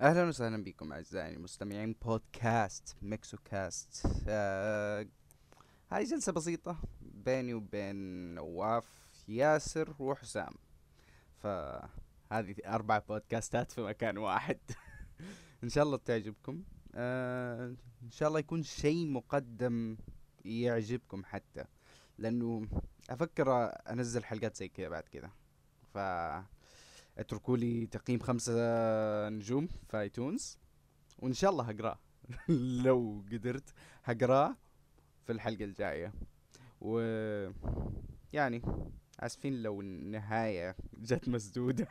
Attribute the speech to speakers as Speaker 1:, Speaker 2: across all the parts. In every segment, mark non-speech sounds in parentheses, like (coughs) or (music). Speaker 1: اهلا وسهلا بكم اعزائي المستمعين بودكاست ميكسو كاست آه هاي جلسة بسيطة بيني وبين نواف ياسر وحسام فهذه اربع بودكاستات في مكان واحد (laughs) ان شاء الله تعجبكم آه ان شاء الله يكون شيء مقدم يعجبكم حتى لانه افكر انزل حلقات زي كذا بعد كذا ف اتركوا لي تقييم خمسة نجوم في ايتونز وان شاء الله هقراه (laughs) لو قدرت هقراه في الحلقة الجاية و يعني اسفين لو النهاية جت
Speaker 2: (laughs)
Speaker 1: مسدودة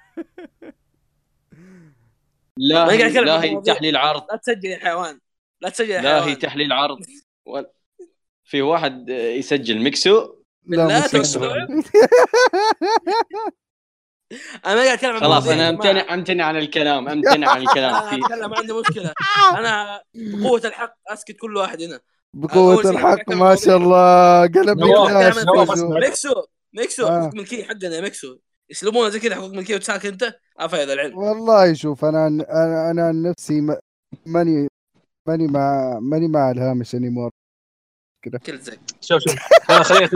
Speaker 3: لا
Speaker 4: ما يقعد
Speaker 3: هي
Speaker 4: يتكلم
Speaker 3: لا
Speaker 4: عن
Speaker 3: هي
Speaker 4: المواضيع.
Speaker 3: تحليل عرض
Speaker 4: لا تسجل يا حيوان لا تسجل يا
Speaker 3: لا
Speaker 4: حيوان
Speaker 3: هي تحليل عرض ولا- في واحد يسجل ميكسو
Speaker 4: بالله
Speaker 1: مستحيل.
Speaker 4: تستوعب. انا ما قاعد اتكلم عن
Speaker 3: خلاص
Speaker 4: المواضيع
Speaker 3: انا
Speaker 4: يا جماعة.
Speaker 3: امتنع امتنع عن الكلام امتنع عن الكلام
Speaker 4: (laughs) انا
Speaker 3: في
Speaker 4: اتكلم عندي مشكله انا بقوه الحق اسكت كل واحد هنا أول
Speaker 2: بقوة
Speaker 4: شيء
Speaker 2: الحق
Speaker 4: نتكلم
Speaker 2: ما
Speaker 4: عن
Speaker 2: شاء
Speaker 4: موضوع.
Speaker 2: الله قلب
Speaker 4: نواف،
Speaker 2: نقاش
Speaker 4: نعم، نواف،
Speaker 2: كله.
Speaker 4: ميكسو ميكسو
Speaker 2: آه.
Speaker 4: حقوق ملكيه حقنا يا ميكسو يسلمونا زي كذا حقوق ملكيه وتساكن انت افا
Speaker 2: (laughs)
Speaker 4: هذا العلم
Speaker 2: والله شوف انا انا انا عن نفسي ما- ماني ماني مع ماني مع الهامش اني مور
Speaker 4: كل زق
Speaker 5: شوف شوف انا خليني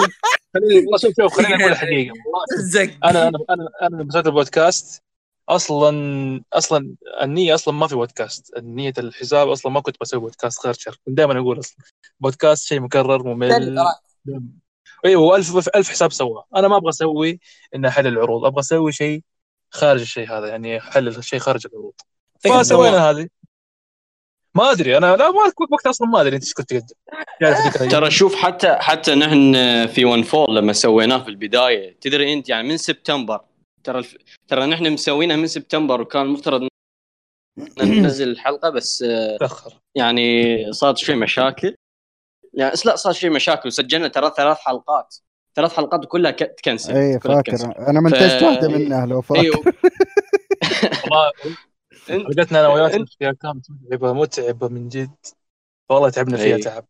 Speaker 5: خليني والله شوف شوف خليني اقول الحقيقه والله
Speaker 4: زق (laughs)
Speaker 5: انا انا انا انا لما بدات البودكاست اصلا اصلا النيه اصلا ما في بودكاست النيه الحساب اصلا ما كنت بسوي بودكاست غير شر دائما اقول اصلا بودكاست شيء مكرر
Speaker 4: طيب،
Speaker 5: ممل ايوه ألف ألف حساب سواه انا ما ابغى اسوي اني احل العروض ابغى اسوي شيء خارج الشيء هذا يعني احل شيء خارج العروض فسوينا هذه ما ادري انا لا ما وقتها اصلا ما ادري انت ايش كنت تقدم يعني الفكرة هي.
Speaker 3: ترى شوف حتى حتى نحن في ون فول لما سويناه في البدايه تدري انت يعني من سبتمبر ترى الف... ترى نحن مسوينها من سبتمبر وكان المفترض إن ننزل الحلقه بس آه،
Speaker 5: تاخر
Speaker 3: يعني صارت شوي مشاكل يعني بس لا صار شوي مشاكل وسجلنا ترى ثلاث حلقات ثلاث حلقات كلها ك- تكنسل
Speaker 2: اي
Speaker 3: كلها تكنسل.
Speaker 2: إيه، فاكر انا منتجت
Speaker 3: ف-
Speaker 2: واحدة منها لو
Speaker 4: إيه،
Speaker 2: فاكر
Speaker 3: ايوه
Speaker 5: والله
Speaker 3: أنت-
Speaker 5: بدأتنا انا وياك
Speaker 3: أنت-
Speaker 5: فيها كانت متعبه متعبه من جد والله تعبنا فيها
Speaker 3: إي.
Speaker 5: تعب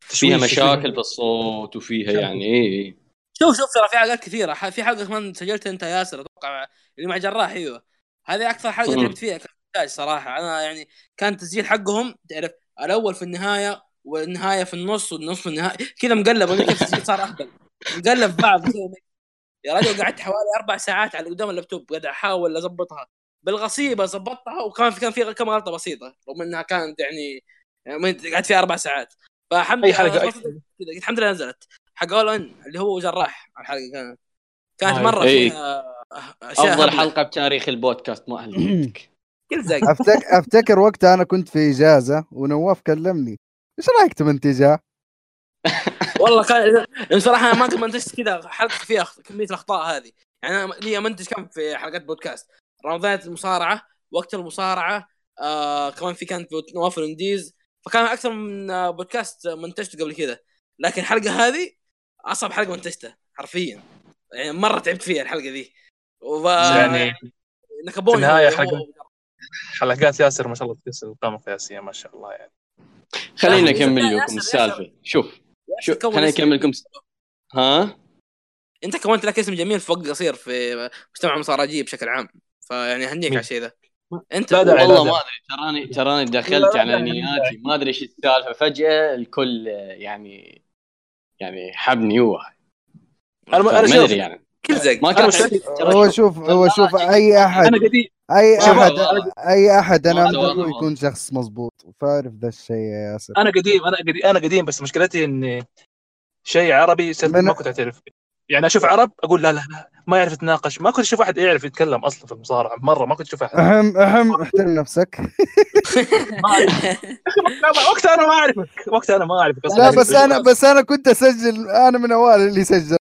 Speaker 3: فيها
Speaker 5: تشويش-
Speaker 3: مشاكل في الصوت وفيها يعني اي
Speaker 4: شوف شوف ترى في حلقات كثيره ح- في حلقه كمان سجلت انت يا ياسر اتوقع اللي مع جراح ايوه هذه اكثر حلقه
Speaker 3: مم.
Speaker 4: تعبت فيها كمونتاج صراحه انا يعني كان تسجيل حقهم تعرف الاول في النهايه والنهايه في النص والنص في النهايه كذا مقلب ولا كيف التسجيل صار اهبل مقلب في بعض كذا. يا رجل قعدت حوالي اربع ساعات على قدام اللابتوب قاعد احاول اضبطها بالغصيبه ضبطتها وكان في كان في كم غلطه بسيطه رغم انها كانت يعني يعني من- قعدت فيها اربع ساعات فالحمد
Speaker 5: اي
Speaker 4: لله
Speaker 5: حلقه
Speaker 4: أنا
Speaker 5: أكثر.
Speaker 4: كذا قلت الحمد لله نزلت حق اول ان اللي هو جراح الحلقه كانت كانت
Speaker 5: أيوة.
Speaker 4: مره
Speaker 3: إيه.
Speaker 4: فيها اشياء
Speaker 3: افضل
Speaker 4: هبلة.
Speaker 3: حلقه بتاريخ البودكاست ما اهلك
Speaker 4: كل زق (laughs)
Speaker 2: افتكر افتكر وقتها انا كنت في اجازة ونواف كلمني ايش رايك تمنتجها؟
Speaker 4: والله كان يعني صراحه انا ما كنت منتجت كذا حلقه فيها أخ- كميه الاخطاء هذه يعني انا لي منتج كم في حلقات بودكاست رمضان المصارعه وقت المصارعه آه كمان في كانت بود- نواف الانديز فكان اكثر من آه، بودكاست منتجته قبل كذا لكن الحلقه هذه اصعب حلقه منتجتها حرفيا يعني مره تعبت فيها الحلقه ذي وف...
Speaker 5: يعني
Speaker 4: نكبوني
Speaker 5: في النهاية
Speaker 4: هو- (laughs)
Speaker 5: حلقة- حلقات ياسر ما شاء الله تكسر القامه القياسيه ما شاء الله يعني
Speaker 3: خلينا
Speaker 4: يا أخي،
Speaker 3: نكمل
Speaker 4: يا
Speaker 3: لكم
Speaker 4: أخي، يا
Speaker 3: السالفه شوف شوف
Speaker 4: تكون
Speaker 3: خلينا
Speaker 4: اسم.
Speaker 3: نكمل لكم س- ها
Speaker 4: انت كونت لك اسم جميل في وقت قصير في مجتمع المصارجيه بشكل عام فيعني هنيك
Speaker 5: مين؟
Speaker 4: على الشيء ذا انت
Speaker 5: لا داعي
Speaker 3: والله ما
Speaker 5: لا داعي.
Speaker 3: ادري تراني تراني دخلت
Speaker 5: لا، لا،
Speaker 3: على
Speaker 5: لا.
Speaker 3: نياتي ما ادري ايش السالفه فجاه الكل آه، يعني يعني حبني هو
Speaker 5: انا ما- انا
Speaker 3: ما
Speaker 5: شوف
Speaker 3: ادري يعني
Speaker 4: كل زق
Speaker 3: ما
Speaker 5: أنا
Speaker 3: كان
Speaker 5: مش-
Speaker 3: عندي- ترى
Speaker 2: هو
Speaker 3: شوف،
Speaker 2: شوف هو
Speaker 3: لا،
Speaker 2: شوف
Speaker 3: لا،
Speaker 2: اي احد
Speaker 5: انا قديم
Speaker 2: اي
Speaker 5: شوف،
Speaker 2: احد
Speaker 3: والله.
Speaker 2: اي احد انا
Speaker 3: والله،
Speaker 2: امدحه
Speaker 3: والله،
Speaker 2: يكون شخص مضبوط فاعرف ذا الشيء يا ياسر
Speaker 5: انا قديم انا قديم انا قديم بس مشكلتي اني شيء عربي صرت
Speaker 2: من-
Speaker 5: ما كنت اعترف يعني اشوف عرب اقول لا لا لا ما يعرف يتناقش ما كنت اشوف احد يعرف يتكلم اصلا في المصارعه مره ما كنت
Speaker 2: (laughs)
Speaker 5: اشوف احد
Speaker 2: اهم اهم احترم نفسك
Speaker 5: وقتها انا ما اعرفك وقتها انا ما اعرفك أصلاً.
Speaker 2: لا بس انا بس انا كنت اسجل انا من اوائل اللي سجل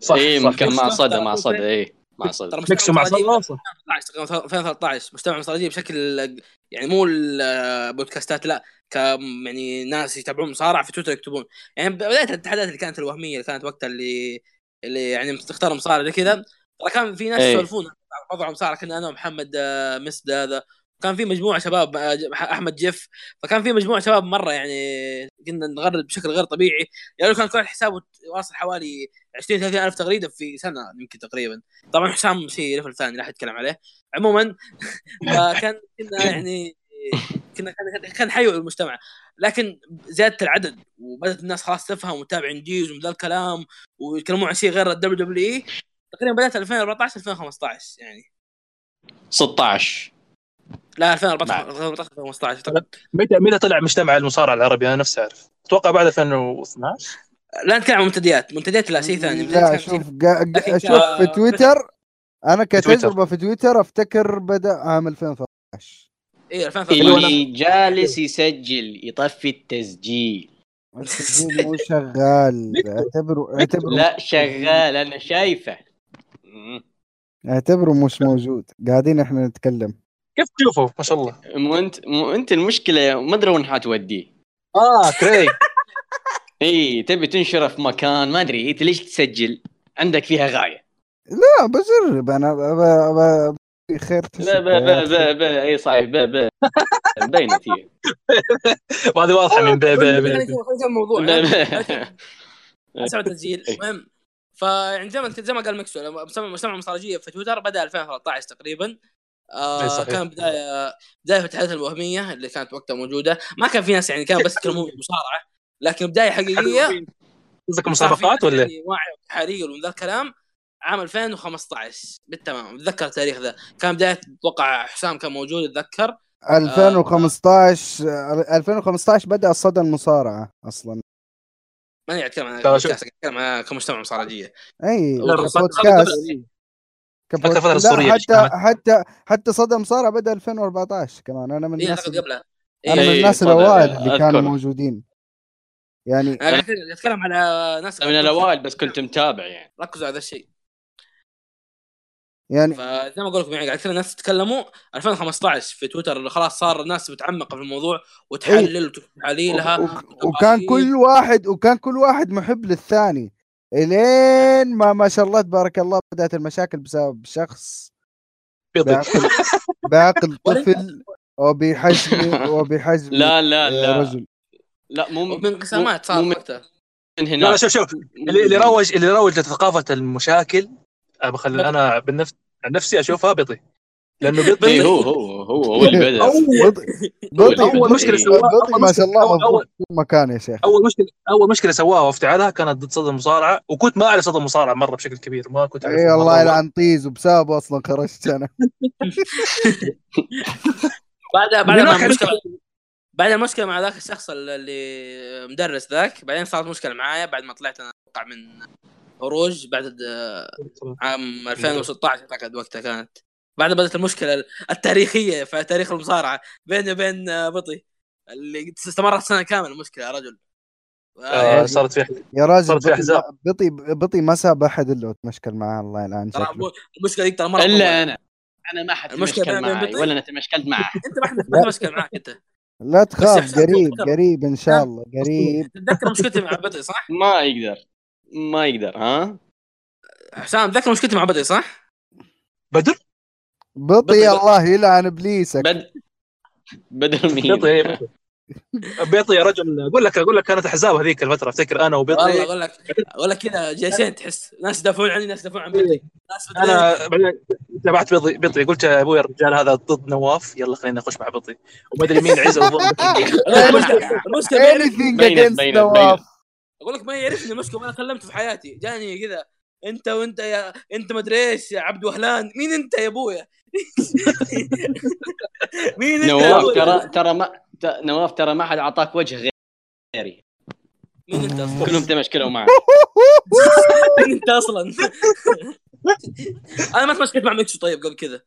Speaker 5: صح
Speaker 3: اي
Speaker 5: صح
Speaker 3: كان مع
Speaker 4: صح،
Speaker 3: صدى
Speaker 4: صح،
Speaker 3: مع
Speaker 4: صح.
Speaker 3: صدى اي مع صدى
Speaker 5: ميكسو مع
Speaker 4: المصارعجية
Speaker 5: صلاح صح
Speaker 4: 2013 2013 مجتمع المصارجيه بشكل يعني مو البودكاستات لا ك يعني ناس يتابعون مصارعه في تويتر يكتبون يعني بدايه الاتحادات اللي كانت الوهميه اللي كانت وقتها اللي اللي يعني تختار مصارع زي كذا ترى كان في ناس
Speaker 3: إيه.
Speaker 4: يسولفون عن موضوع المصارعه كنا انا ومحمد آه، مسد هذا كان في مجموعه شباب آه، ج- احمد جيف فكان في مجموعه شباب مره يعني كنا نغرد بشكل غير طبيعي يعني كان كل حسابه واصل حوالي 20 30 الف تغريده في سنه يمكن تقريبا طبعا حسام شيء ليفل ثاني لا احد يتكلم عليه
Speaker 2: (laughs)
Speaker 4: عموما فكان
Speaker 2: (coughs)
Speaker 4: كنا يعني كنا كان- كان حيو المجتمع لكن زياده العدد وبدات الناس خلاص تفهم وتتابع ديوز ومن ذا الكلام ويتكلمون عن شيء غير الدبليو دبليو اي تقريبا بدات 2014 2015 يعني
Speaker 3: 16
Speaker 4: لا
Speaker 3: نعم.
Speaker 4: 2014 2014 2015 اعتقد
Speaker 5: متى متى طلع مجتمع المصارعه العربي انا نفسي اعرف اتوقع بعد 2012
Speaker 4: لا نتكلم عن منتديات منتديات لا شيء ثاني منتديات
Speaker 2: لا
Speaker 4: كان
Speaker 2: شوف
Speaker 4: شيء-
Speaker 2: قا-
Speaker 4: لكن
Speaker 2: قا- شوف في
Speaker 4: كا-
Speaker 2: تويتر انا
Speaker 5: تويتر.
Speaker 2: كتجربه في تويتر افتكر بدا عام
Speaker 4: (laughs)
Speaker 2: 2013
Speaker 4: اي 2013
Speaker 3: اللي جالس يسجل يطفي التسجيل
Speaker 2: التسجيل مو شغال اعتبره اعتبره
Speaker 3: لا شغال انا شايفه
Speaker 2: اعتبره مش موجود قاعدين احنا نتكلم
Speaker 5: كيف تشوفه ما شاء الله
Speaker 3: مو انت مو انت المشكله ما ادري وين حتوديه
Speaker 5: اه كريج
Speaker 3: اي تبي تنشره في مكان ما ادري انت ليش تسجل عندك فيها غايه
Speaker 2: لا بجرب انا ب- ب- ب- خير
Speaker 3: لا
Speaker 2: تشوف
Speaker 3: با با
Speaker 2: يا أخي.
Speaker 3: با با اي صحيح با با مبينه فيها
Speaker 5: (laughs) وهذه واضحه من بي بي
Speaker 4: خلينا
Speaker 5: بي
Speaker 4: نشوف- خلينا نشوف الموضوع
Speaker 3: إيه، لا،
Speaker 4: اسمع التسجيل
Speaker 3: إيه.
Speaker 4: المهم فيعني زي ما زي ما قال مكسو لما مسمى مجتمع المصارجيه في تويتر بدا 2013 تقريبا
Speaker 5: إيه،
Speaker 4: آه
Speaker 5: صحيح.
Speaker 4: كان بدايه بدايه في التحديات الوهميه اللي كانت وقتها موجوده ما كان في ناس يعني كان بس
Speaker 5: (laughs)
Speaker 4: يتكلمون مصارعه لكن بدايه حقيقيه
Speaker 5: قصدك مسابقات ولا إيه؟
Speaker 4: يعني واعي حريق ومن ذا الكلام عام 2015 بالتمام اتذكر التاريخ ذا كان بدايه اتوقع حسام كان موجود اتذكر
Speaker 2: 2015 2015 بدا صدى المصارعه اصلا
Speaker 4: ماني اتكلم عن
Speaker 5: ترى شوف.
Speaker 4: البودكاست، اتكلم عن كمجتمع مصارجيه
Speaker 2: اي
Speaker 4: أكثر فترة-
Speaker 2: كبودكاست
Speaker 5: أكثر فترة
Speaker 2: كبودكاست
Speaker 5: السورية
Speaker 2: لا
Speaker 5: اللي
Speaker 2: حتى
Speaker 5: اشتهرت.
Speaker 2: حتى حتى صدى المصارعه بدا 2014 كمان انا من
Speaker 4: اي
Speaker 2: الناس
Speaker 4: اعتقد
Speaker 2: اللي-
Speaker 4: إيه، قبلها
Speaker 2: انا من
Speaker 3: إيه،
Speaker 2: الناس
Speaker 3: صدى،
Speaker 2: الاوائل اللي كانوا
Speaker 3: أذكر.
Speaker 2: موجودين يعني
Speaker 4: انا قاعد اتكلم على ناس
Speaker 3: من الاوائل بس كنت متابع يعني
Speaker 4: ركزوا على هذا الشيء
Speaker 2: يعني
Speaker 4: فزي ما اقول لكم يعني قاعد كثير ناس تتكلموا 2015 في تويتر خلاص صار الناس متعمقه في الموضوع وتحلل
Speaker 3: إيه.
Speaker 4: وتحاليلها
Speaker 2: وك- وكان كل واحد وكان كل واحد محب للثاني الين ما ما شاء الله تبارك الله بدات المشاكل بسبب شخص
Speaker 5: بيض
Speaker 3: (laughs)
Speaker 2: بعقل بعقل
Speaker 4: ولا-
Speaker 2: طفل وبحجم وبحجم (laughs)
Speaker 3: لا لا لا
Speaker 2: رجل
Speaker 3: لا مو مو
Speaker 4: وبانقسامات صارت
Speaker 3: مو من-
Speaker 4: وقتها
Speaker 3: من
Speaker 5: لا لا
Speaker 3: هناك
Speaker 5: شوف شوف اللي اللي روج اللي روج لثقافه المشاكل أبى أخلي- انا بالنفس عن نفسي اشوفها بيطي لانه
Speaker 3: اي
Speaker 5: بيطي
Speaker 3: هو هو هو هو اللي بدا
Speaker 2: (laughs)
Speaker 5: (laughs)
Speaker 2: بطي بطي
Speaker 5: أول مشكلة سواها-
Speaker 2: بطي
Speaker 5: أول
Speaker 2: ما
Speaker 5: مشكلة-
Speaker 2: شاء الله
Speaker 5: أول-
Speaker 2: مضبوط
Speaker 5: أول-
Speaker 2: في كل مكان يا
Speaker 5: (laughs)
Speaker 2: شيخ
Speaker 5: اول مشكله اول مشكله سواها وافتعالها كانت ضد صدى المصارعه وكنت ما اعرف صدى المصارعه مره بشكل كبير ما كنت اعرف
Speaker 2: اي الله يلعن طيز طيب وبسابه اصلا خرجت انا
Speaker 4: بعدها بعد ما
Speaker 5: هناك
Speaker 4: المشكله بعد المشكله مع ذاك الشخص اللي مدرس ذاك بعدين صارت مشكله معايا بعد ما طلعت انا اتوقع من هروج بعد عام 2016 اعتقد وقتها كانت بعد بدات المشكله التاريخيه في تاريخ المصارعه بيني وبين آه، بطي اللي استمرت سنه كامله المشكله يا رجل آه،
Speaker 5: آه صارت فيها
Speaker 2: يا راجل
Speaker 5: صارت في
Speaker 2: بطي
Speaker 5: أحزاب.
Speaker 2: ما- بطي بطي ما ساب احد الا وتمشكل معاه الله يلعن
Speaker 4: ترى
Speaker 2: شكله
Speaker 4: مو- المشكله دي ترى مره طويلة.
Speaker 3: الا انا انا ما حد
Speaker 4: المشكلة
Speaker 3: تمشكل
Speaker 4: بين- بين
Speaker 3: معي
Speaker 4: بطيء؟
Speaker 3: ولا انا تمشكلت معه
Speaker 4: انت ما احنا ما إحنا مشكله معاك انت
Speaker 2: لا تخاف
Speaker 4: حسام
Speaker 2: قريب
Speaker 4: تويتر.
Speaker 2: قريب ان شاء
Speaker 4: حسام.
Speaker 2: الله قريب
Speaker 4: تتذكر مشكلتي مع بطي صح؟
Speaker 3: ما يقدر ما يقدر ها
Speaker 4: حسام تذكر مشكلتي مع بطي صح؟
Speaker 5: بدر
Speaker 2: بطي
Speaker 4: بطي-
Speaker 2: الله يلعن ابليسك
Speaker 3: بد (laughs) بدر
Speaker 2: (laughs)
Speaker 5: بيطي
Speaker 3: مين
Speaker 5: إيه، بيطي. (laughs) بيطي يا رجل اقول لك اقول لك كانت احزاب هذيك الفتره افتكر انا
Speaker 4: والله
Speaker 5: وبيطي
Speaker 4: اقول لك اقول لك كذا جالسين تحس ناس يدافعون عني ناس يدافعون عن
Speaker 5: إيه.
Speaker 4: بطي ناس بدري
Speaker 5: انا بعدين تابعت بيطي بيطي قلت يا ابوي الرجال هذا ضد نواف يلا خلينا نخش مع بيطي وما ادري مين عزه
Speaker 3: (laughs)
Speaker 5: وضد
Speaker 4: المشكلة- المشكله ما يعرفني
Speaker 2: anything
Speaker 3: بينت-
Speaker 2: against
Speaker 3: بينت-
Speaker 2: نواف
Speaker 4: اقول لك ما يعرفني مشكله ما كلمته في حياتي جاني كذا انت وانت يا انت ما ادري ايش يا عبد وهلان مين انت يا ابويا (laughs)
Speaker 2: (laughs)
Speaker 4: مين انت يا
Speaker 3: نواف
Speaker 4: ابويا
Speaker 3: ترى ترى ما ت- نواف ترى ما حد اعطاك وجه غيري
Speaker 4: مين انت اصلا
Speaker 3: كلهم تمشكلوا
Speaker 2: (laughs)
Speaker 3: معه
Speaker 4: مين انت (laughs) اصلا انا ما تمسكت مع ميكسو طيب قبل كذا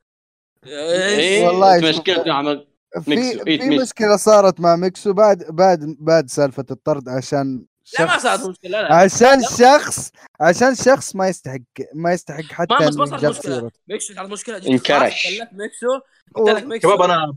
Speaker 3: ايه
Speaker 2: والله شوف-
Speaker 3: تمشكلوا مع ميكسو.
Speaker 2: في
Speaker 3: إيه،
Speaker 2: في
Speaker 3: ميكسو.
Speaker 2: مشكله صارت مع ميكسو بعد بعد بعد سالفه الطرد عشان شخص
Speaker 4: لا ما صارت مشكله لا
Speaker 2: عشان
Speaker 4: لا.
Speaker 2: شخص عشان شخص ما يستحق ما يستحق حتى
Speaker 4: ما- ما
Speaker 2: إنه
Speaker 4: صارت
Speaker 2: يجاب
Speaker 4: مشكلة.
Speaker 2: سيرته.
Speaker 4: ميكسو صارت مشكله جيت
Speaker 3: انكرش.
Speaker 4: خلاص كلمت ميكسو قلت لك
Speaker 2: و-
Speaker 4: ميكسو آه،
Speaker 5: شباب انا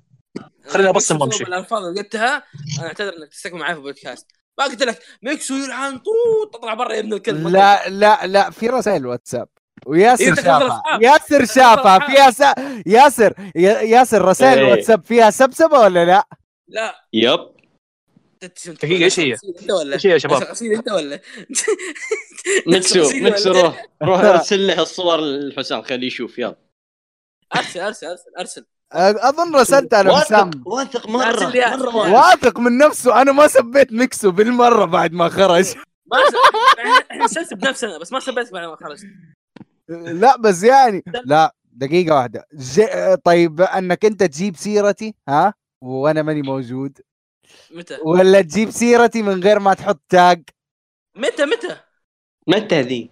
Speaker 5: خليني ابصم
Speaker 4: ميكسو
Speaker 5: وامشي.
Speaker 4: بسبب الالفاظ اللي قلتها انا اعتذر انك تستكمل معي في البودكاست ما قلت لك ميكسو يلعن طوط تطلع برا يا ابن الكلب ما قلت.
Speaker 2: لا لا لا في رسائل واتساب وياسر
Speaker 4: إذا تخلص
Speaker 2: شافها
Speaker 4: الأصحاب.
Speaker 2: ياسر شافها
Speaker 4: الأصحاب.
Speaker 2: فيها س... ياسر يا- ياسر رسائل
Speaker 3: إيه.
Speaker 2: الواتساب فيها سبسبه ولا لا؟
Speaker 4: لا
Speaker 3: يب
Speaker 5: دقيقة، إيش هي؟
Speaker 4: انت ولا
Speaker 5: ايش هي يا شباب؟
Speaker 4: نفس القصيدة انت ولا
Speaker 3: مكسو
Speaker 4: قصيدة ولا؟
Speaker 3: مكسو روح روح ارسل له الصور لحسام خليه يشوف يلا
Speaker 4: ارسل ارسل ارسل ارسل
Speaker 2: اظن رسلت انا
Speaker 3: واثق
Speaker 2: وسام
Speaker 3: واثق
Speaker 4: أرسل لي
Speaker 3: مره
Speaker 4: إياها.
Speaker 3: مره واثق.
Speaker 2: واثق من نفسه انا ما سبيت ميكسو بالمره بعد ما خرج
Speaker 4: ما يعني أرسل. احنا سلت بنفسنا بس ما سبيت بعد ما خرجت
Speaker 2: لا بس يعني لا دقيقه واحده ج... طيب انك انت تجيب سيرتي ها وانا ماني موجود
Speaker 4: متى
Speaker 2: ولا تجيب سيرتي من غير ما تحط تاج
Speaker 4: متى متى
Speaker 3: متى ذي؟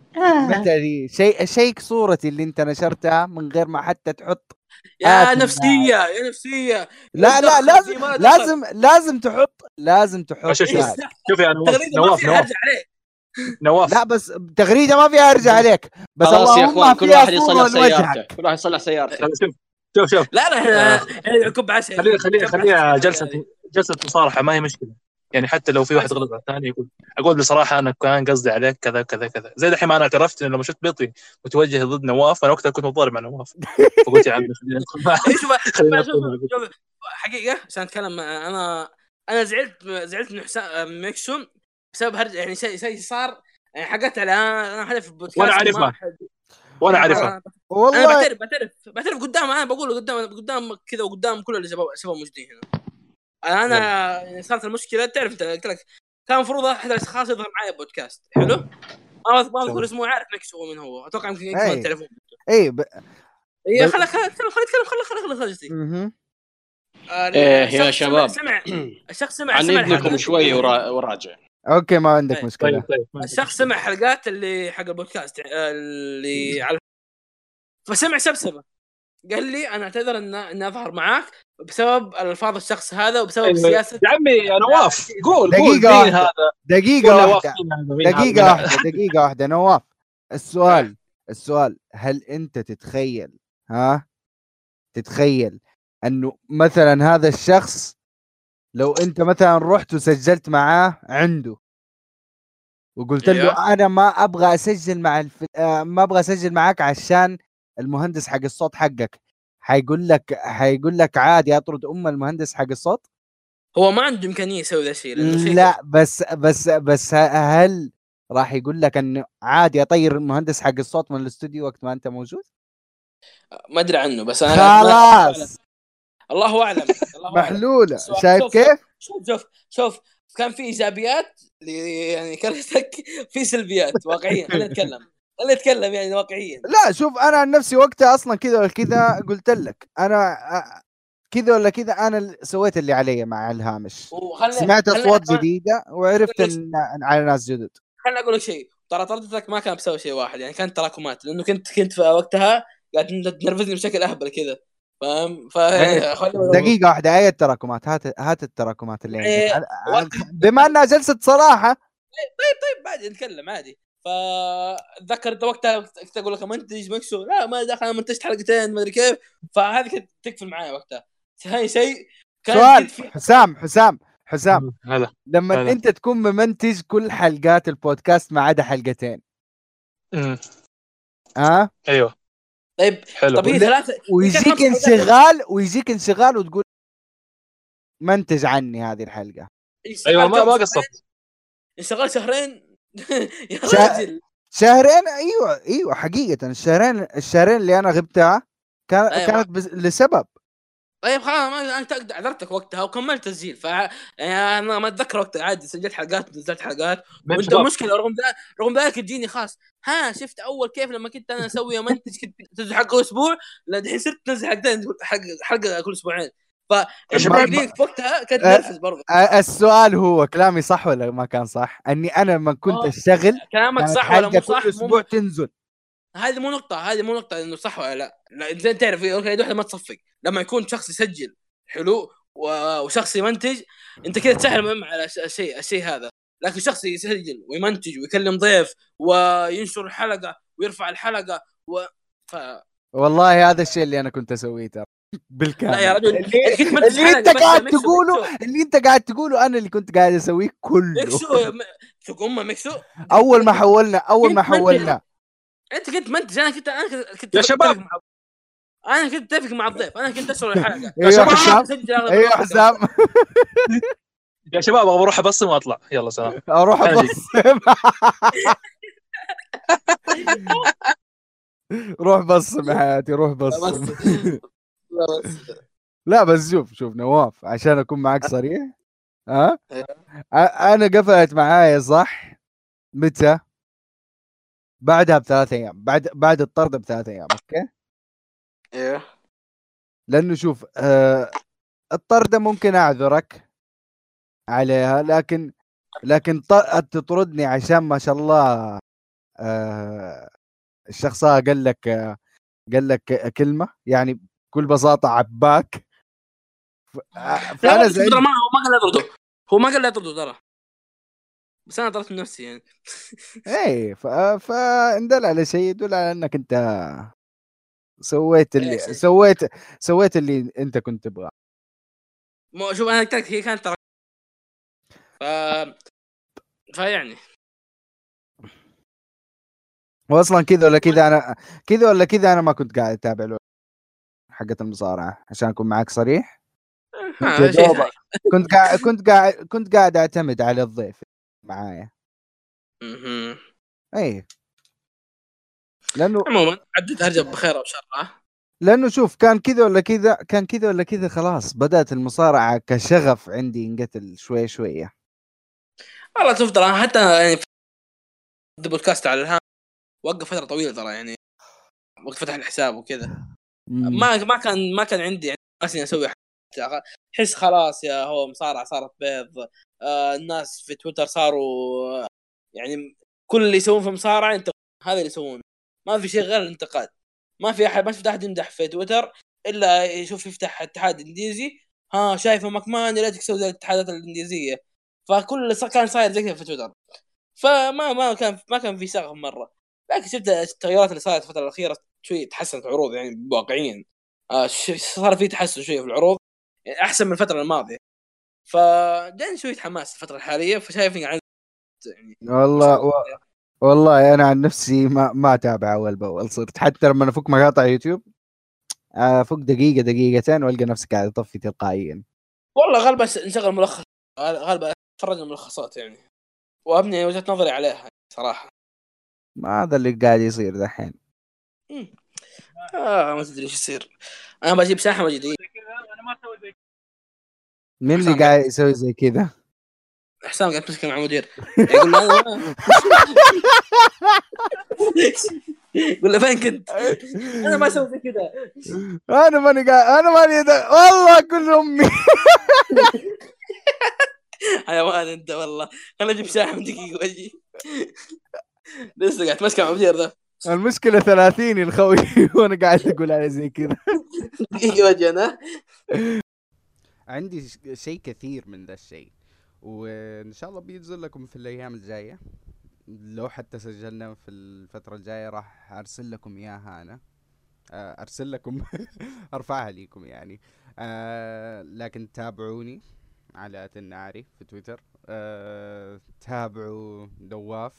Speaker 2: مثلي شيء شيك صورتي اللي انت نشرتها من غير ما حتى تحط
Speaker 4: يا
Speaker 2: آتي
Speaker 4: نفسيه يا نفسيه
Speaker 2: آه، لا لا
Speaker 4: دخل
Speaker 2: لازم
Speaker 4: فيه، ما دخل.
Speaker 2: لازم لازم تحط لازم تحط
Speaker 5: شوف- شوف.
Speaker 2: تاج.
Speaker 5: شوف يا نواف
Speaker 4: تغريده ما
Speaker 5: نواف
Speaker 4: فيها
Speaker 5: نواف
Speaker 4: ارجع عليه
Speaker 5: نواف
Speaker 2: لا بس تغريده ما فيها ارجع عليك بس
Speaker 3: خلاص يا
Speaker 2: اللهم
Speaker 3: اخوان كل
Speaker 2: فيها
Speaker 3: واحد يصلح
Speaker 2: صورة لوجهك.
Speaker 3: سيارته كل واحد يصلح سيارته
Speaker 5: شوف شوف شوف
Speaker 4: لا لا احنا احنا يعقوب عسل
Speaker 5: خليها خليها خليها جلسه جلسه مصارحه ما هي مشكله يعني حتى لو في واحد غلط على الثاني يقول اقول بصراحه انا كان قصدي عليك كذا كذا كذا زي دحين ما انا اعترفت انه لما شفت بيطي متوجه ضد نواف انا وقتها كنت متضارب مع نواف فقلت يا عمي خلينا ندخل معه.
Speaker 4: إيه، شوف
Speaker 5: خلينا
Speaker 4: شوف-
Speaker 5: ندخل معه.
Speaker 4: شوف- حقيقه عشان اتكلم مع- انا انا زعلت زعلت من حسام من ميكسون بسبب هرج يعني شيء شيء صار يعني حقت على انا حدا في البودكاست
Speaker 5: وأنا عارفها.
Speaker 4: ما أحد-
Speaker 5: وانا
Speaker 4: آه.
Speaker 5: عارفها
Speaker 4: انا
Speaker 2: والله
Speaker 4: بعترف بعترف بعترف قدام انا بقول قدام قدام كذا وقدام كل اللي شباب شباب موجودين هنا انا يعني صارت المشكله تعرف انت قلت لك كان المفروض احد الاشخاص يظهر معي بودكاست حلو انا ما اذكر اسمه عارف مكس هو من هو اتوقع يمكن يكسر
Speaker 2: أي.
Speaker 4: التليفون
Speaker 2: اي إيه، ب...
Speaker 4: يا
Speaker 2: بس-
Speaker 4: خلا خلا اتكلم خلا اتكلم خلا خلا خلا خلصتي
Speaker 2: مهم.
Speaker 3: إيه يا شباب.
Speaker 4: سمع الشخص سمع سمع
Speaker 3: عنيدنكم
Speaker 4: الحلقات-
Speaker 3: شوي ورا- وراجع
Speaker 2: اوكي ما عندك
Speaker 4: أي.
Speaker 2: مشكله
Speaker 5: طيب طيب ما عندي.
Speaker 4: الشخص سمع حلقات اللي حق البودكاست آه، اللي على فسمع سبسبه قال لي انا اعتذر ان اني اظهر معاك بسبب الفاظ الشخص هذا وبسبب
Speaker 5: أيوة.
Speaker 4: سياسه
Speaker 5: يا عمي يا نواف قول قول
Speaker 2: دقيقة
Speaker 5: مين
Speaker 2: واحدة.
Speaker 5: هذا قول
Speaker 2: دقيقه
Speaker 5: نواف
Speaker 2: واحده
Speaker 5: مين هذا؟ مين هذا؟
Speaker 2: دقيقه
Speaker 5: مين هذا؟
Speaker 2: واحده دقيقه واحده
Speaker 5: (laughs)
Speaker 2: نواف السؤال السؤال هل انت تتخيل ها تتخيل انه مثلا هذا الشخص لو انت مثلا رحت وسجلت معاه عنده وقلت له
Speaker 5: إيه.
Speaker 4: أيوه.
Speaker 2: انا ما ابغى اسجل مع الف... آه، ما ابغى اسجل معاك عشان المهندس حق الصوت حقك حيقول لك حيقول لك عادي اطرد ام المهندس حق الصوت
Speaker 4: هو ما عنده امكانيه يسوي ذا الشيء لأنه شيء-
Speaker 2: لا بس بس بس هل راح يقول لك انه عادي اطير المهندس حق الصوت من الاستوديو وقت ما انت موجود؟
Speaker 4: ما ادري عنه بس انا
Speaker 2: خلاص
Speaker 4: الله اعلم الله اعلم
Speaker 2: محلوله
Speaker 4: السؤال-
Speaker 2: شايف
Speaker 4: شوف-
Speaker 2: كيف؟
Speaker 4: شوف شوف شوف كان في ايجابيات ل- يعني كرهتك في سلبيات واقعيا خلينا نتكلم خلينا نتكلم يعني واقعيا
Speaker 2: لا شوف انا عن نفسي وقتها اصلا كذا ولا كذا قلت لك انا أ- كذا ولا كذا انا ال- سويت اللي علي مع الهامش
Speaker 4: وخلنا
Speaker 2: سمعت
Speaker 4: خلنا-
Speaker 2: اصوات
Speaker 4: خلنا-
Speaker 2: جديده وعرفت
Speaker 4: خلنا-
Speaker 2: ان إن على ناس جدد
Speaker 4: خلنا اقول لك شيء ترى طردتك ما كان بسبب شيء واحد يعني كانت تراكمات لانه كنت كنت في وقتها قاعد تنرفزني بشكل اهبل كذا فاهم ف (laughs)
Speaker 2: إيه.
Speaker 4: خلنا-
Speaker 2: دقيقه واحده اي التراكمات هات هات التراكمات اللي
Speaker 4: إيه،
Speaker 2: عندك أنا-
Speaker 4: وقت-
Speaker 2: بما انها جلسه صراحه
Speaker 4: طيب بعد نتكلم عادي فاتذكر انت وقتها كنت اقول لك منتج مكسو لا ما دخل انا منتجت حلقتين ما ادري كيف فهذه كانت تقفل معايا وقتها هاي شيء كان
Speaker 2: سؤال
Speaker 4: جد في-
Speaker 2: حسام حسام حسام
Speaker 5: هلا
Speaker 2: لما
Speaker 5: هلا.
Speaker 2: انت تكون ممنتج كل حلقات البودكاست ما عدا حلقتين
Speaker 5: أمم،
Speaker 2: ها أه؟
Speaker 5: ايوه
Speaker 4: طيب
Speaker 5: حلو
Speaker 4: طب هي
Speaker 2: ولا-
Speaker 4: ثلاثه
Speaker 2: ويجيك
Speaker 4: خمس حلقات.
Speaker 2: انشغال ويجيك انشغال وتقول منتج عني هذه الحلقه
Speaker 4: انشغال
Speaker 5: ايوه ما
Speaker 4: كم
Speaker 5: ما
Speaker 4: شهرين؟
Speaker 5: قصرت
Speaker 4: انشغال شهرين (laughs) يا
Speaker 2: شا-
Speaker 4: راجل
Speaker 2: شهرين ايوه ايوه حقيقه الشهرين الشهرين اللي انا غبتها كان
Speaker 4: أيوة.
Speaker 2: كانت بس لسبب
Speaker 4: طيب خلاص ما انا تق- عذرتك وقتها وكملت تسجيل ف يعني انا ما اتذكر وقتها عادي سجلت حلقات ونزلت حلقات
Speaker 5: مين
Speaker 4: وانت
Speaker 5: طيب، شباب؟
Speaker 4: المشكله رغم ذلك رغم ذلك تجيني خاص ها شفت اول كيف لما كنت انا اسوي (laughs) منتج كنت تنزل حلقه اسبوع لا دحين صرت تنزل حلقتين حلقه حلقه كل اسبوعين ف
Speaker 2: طيب،
Speaker 5: يا شباب،
Speaker 4: ليك وقتها كانت
Speaker 2: أه.
Speaker 4: نرفز برضه
Speaker 2: أ- السؤال هو كلامي صح ولا ما كان صح اني انا لما كنت
Speaker 4: آه،
Speaker 2: اشتغل
Speaker 4: كلامك
Speaker 2: كانت
Speaker 4: صح ولا
Speaker 2: حلقه
Speaker 4: مو
Speaker 2: كل
Speaker 4: صح
Speaker 2: اسبوع
Speaker 4: مو
Speaker 2: تنزل
Speaker 4: هذه مو نقطة هذه مو نقطة انه صح ولا لا، لا انت تعرف يا أخي، يد واحدة ما تصفق، لما يكون شخص يسجل حلو و- وشخص يمنتج انت كذا تسهل المهم على الش- الشيء الشيء هذا، لكن شخص يسجل ويمنتج ويكلم ضيف وينشر الحلقة ويرفع الحلقة و ف...
Speaker 2: والله هذا الشيء اللي انا كنت اسويه ترى بالكامل
Speaker 4: لا يا رجل
Speaker 2: اللي,
Speaker 4: أنت كنت منتج
Speaker 2: اللي
Speaker 4: حلقة
Speaker 2: انت
Speaker 4: بس،
Speaker 2: قاعد
Speaker 4: ميكسو-
Speaker 2: تقوله
Speaker 4: ميكسو-
Speaker 2: اللي انت قاعد تقوله انا اللي كنت قاعد اسويه كله
Speaker 4: ميكسو يا م- شوك امه ميكسو
Speaker 2: اول ما حولنا اول ما
Speaker 4: كنت منتج-
Speaker 2: حولنا
Speaker 4: انت كنت ما انت انا كنت انا كنت
Speaker 5: يا شباب.
Speaker 4: أتفق مع- انا كنت اتفق مع الضيف انا كنت اشرح الحلقه
Speaker 2: ايوه
Speaker 5: شباب.
Speaker 2: حسام
Speaker 4: سجل أغلب
Speaker 2: ايوه
Speaker 4: الوقت.
Speaker 2: حسام
Speaker 5: يا شباب ابغى اروح ابصم واطلع يلا سلام
Speaker 2: اروح
Speaker 5: خليك.
Speaker 2: ابصم (laughs) روح بصم يا حياتي روح بصم
Speaker 4: (laughs) بس لا بس
Speaker 2: لا بس شوف شوف نواف عشان اكون معك صريح ها
Speaker 4: إيه.
Speaker 2: أ- انا قفلت معايا صح متى بعدها بثلاث ايام بعد بعد الطرد بثلاث ايام اوكي
Speaker 4: ايوه
Speaker 2: لانه شوف آه الطرده ممكن اعذرك عليها لكن لكن ط- تطردني عشان ما شاء الله آه الشخص هذا قال لك آه قال لك كلمه يعني بكل بساطه عباك ف- آه،
Speaker 4: لا
Speaker 2: فانا
Speaker 4: بس
Speaker 2: زعلت
Speaker 4: ترى ما هو ما قال لا يطرده هو ما قال لا يطرده ترى بس انا طردت من نفسي يعني
Speaker 2: ايه ف... فاندل على شيء يدل على انك انت سويت اللي
Speaker 4: شيء.
Speaker 2: سويت سويت اللي انت كنت تبغاه
Speaker 4: ما شوف انا قلت لك هي كانت ترى ف فيعني
Speaker 2: واصلا كذا ولا كذا انا كذا ولا كذا انا ما كنت قاعد اتابع الو- حقت المصارعه عشان اكون معك صريح
Speaker 4: آه،
Speaker 2: يا
Speaker 4: شيء
Speaker 2: دوبك.
Speaker 4: ثاني
Speaker 2: كنت قاعد كنت قاعد كنت قاعد اعتمد على الضيف معايا إيه.
Speaker 4: مهم.
Speaker 2: اي لانه
Speaker 4: عموما عدت هرجه بخير او شر ها؟
Speaker 2: لانه شوف كان كذا ولا كذا كان كذا ولا كذا خلاص بدات المصارعه كشغف عندي ينقتل شوي شويه
Speaker 4: والله شوف ترى حتى يعني في البودكاست على الهام وقف فتره طويله ترى يعني وقت فتح الحساب وكذا
Speaker 2: مم.
Speaker 4: ما ما كان ما كان عندي يعني ناس إني اسوي حاجة. احس خلاص يا هو مصارعه صارت بيض آه الناس في تويتر صاروا آه، يعني كل اللي يسوون في مصارعه انت هذا اللي يسوونه ما في شيء غير الانتقاد ما في احد ما شفت احد يمدح في تويتر الا يشوف يفتح اتحاد انديزي ها شايفه ماكمان يا ريت يسوي زي الاتحادات الانديزيه فكل اللي صار- كان صاير زي كذا في تويتر فما ما كان ما كان في شغف مره لكن شفت التغيرات اللي صارت الفتره الاخيره شوي تحسنت عروض يعني واقعيا آه ش- صار في تحسن شويه في العروض يعني احسن من الفتره الماضيه فجاني شويه حماس الفتره الحاليه فشايف اني عن- يعني
Speaker 2: والله و... والله انا عن نفسي ما ما اتابع اول باول صرت حتى لما افك مقاطع يوتيوب افك دقيقه دقيقتين والقى نفسي قاعد اطفي تلقائيا
Speaker 4: والله غالبا س- نشغل ملخص غال- غالبا اتفرج الملخصات يعني وابني وجهه نظري عليها صراحه
Speaker 2: ما هذا اللي قاعد يصير دحين
Speaker 4: مم. آه ما تدري ايش يصير انا بجيب ساحه مجدي طيب.
Speaker 2: مين اللي
Speaker 4: حسام.
Speaker 2: قاعد يسوي زي كذا
Speaker 4: حسام قاعد تمسك مع مدير يقول له أنا- (laughs) يقول له فين
Speaker 2: (laughs)
Speaker 4: كنت؟ انا ما اسوي زي كذا
Speaker 2: انا ماني قاعد انا ماني دا... والله كل امي
Speaker 4: حيوان انت والله خليني اجيب شاحن من دقيقه واجي لسه قاعد ماسك مع المدير ذا
Speaker 2: المشكله 30 (laughs) الخوي وانا قاعد اقول عليه زي كذا
Speaker 4: دقيقه واجي انا
Speaker 1: عندي ش- شيء كثير من ذا الشيء وان شاء الله بينزل لكم في الايام الجايه لو حتى سجلنا في الفتره الجايه راح ارسل لكم اياها انا آه، ارسل لكم (laughs) ارفعها ليكم يعني آه، لكن تابعوني على تنعري في تويتر آه، تابعوا نواف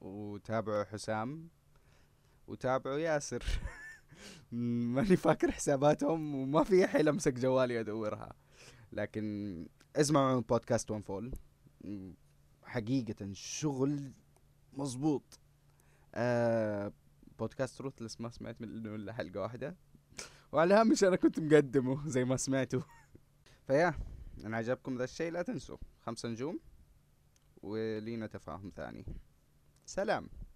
Speaker 1: وتابعوا حسام وتابعوا ياسر (laughs) ماني فاكر حساباتهم وما في حيل امسك جوالي ادورها لكن اسمعوا بودكاست ون فول حقيقة شغل مظبوط آه بودكاست روثلس ما سمعت منه الا حلقة واحدة وعلى هامش انا كنت مقدمه زي ما سمعتوا (laughs) فيا ان عجبكم ذا الشيء لا تنسوا خمسة نجوم ولينا تفاهم ثاني سلام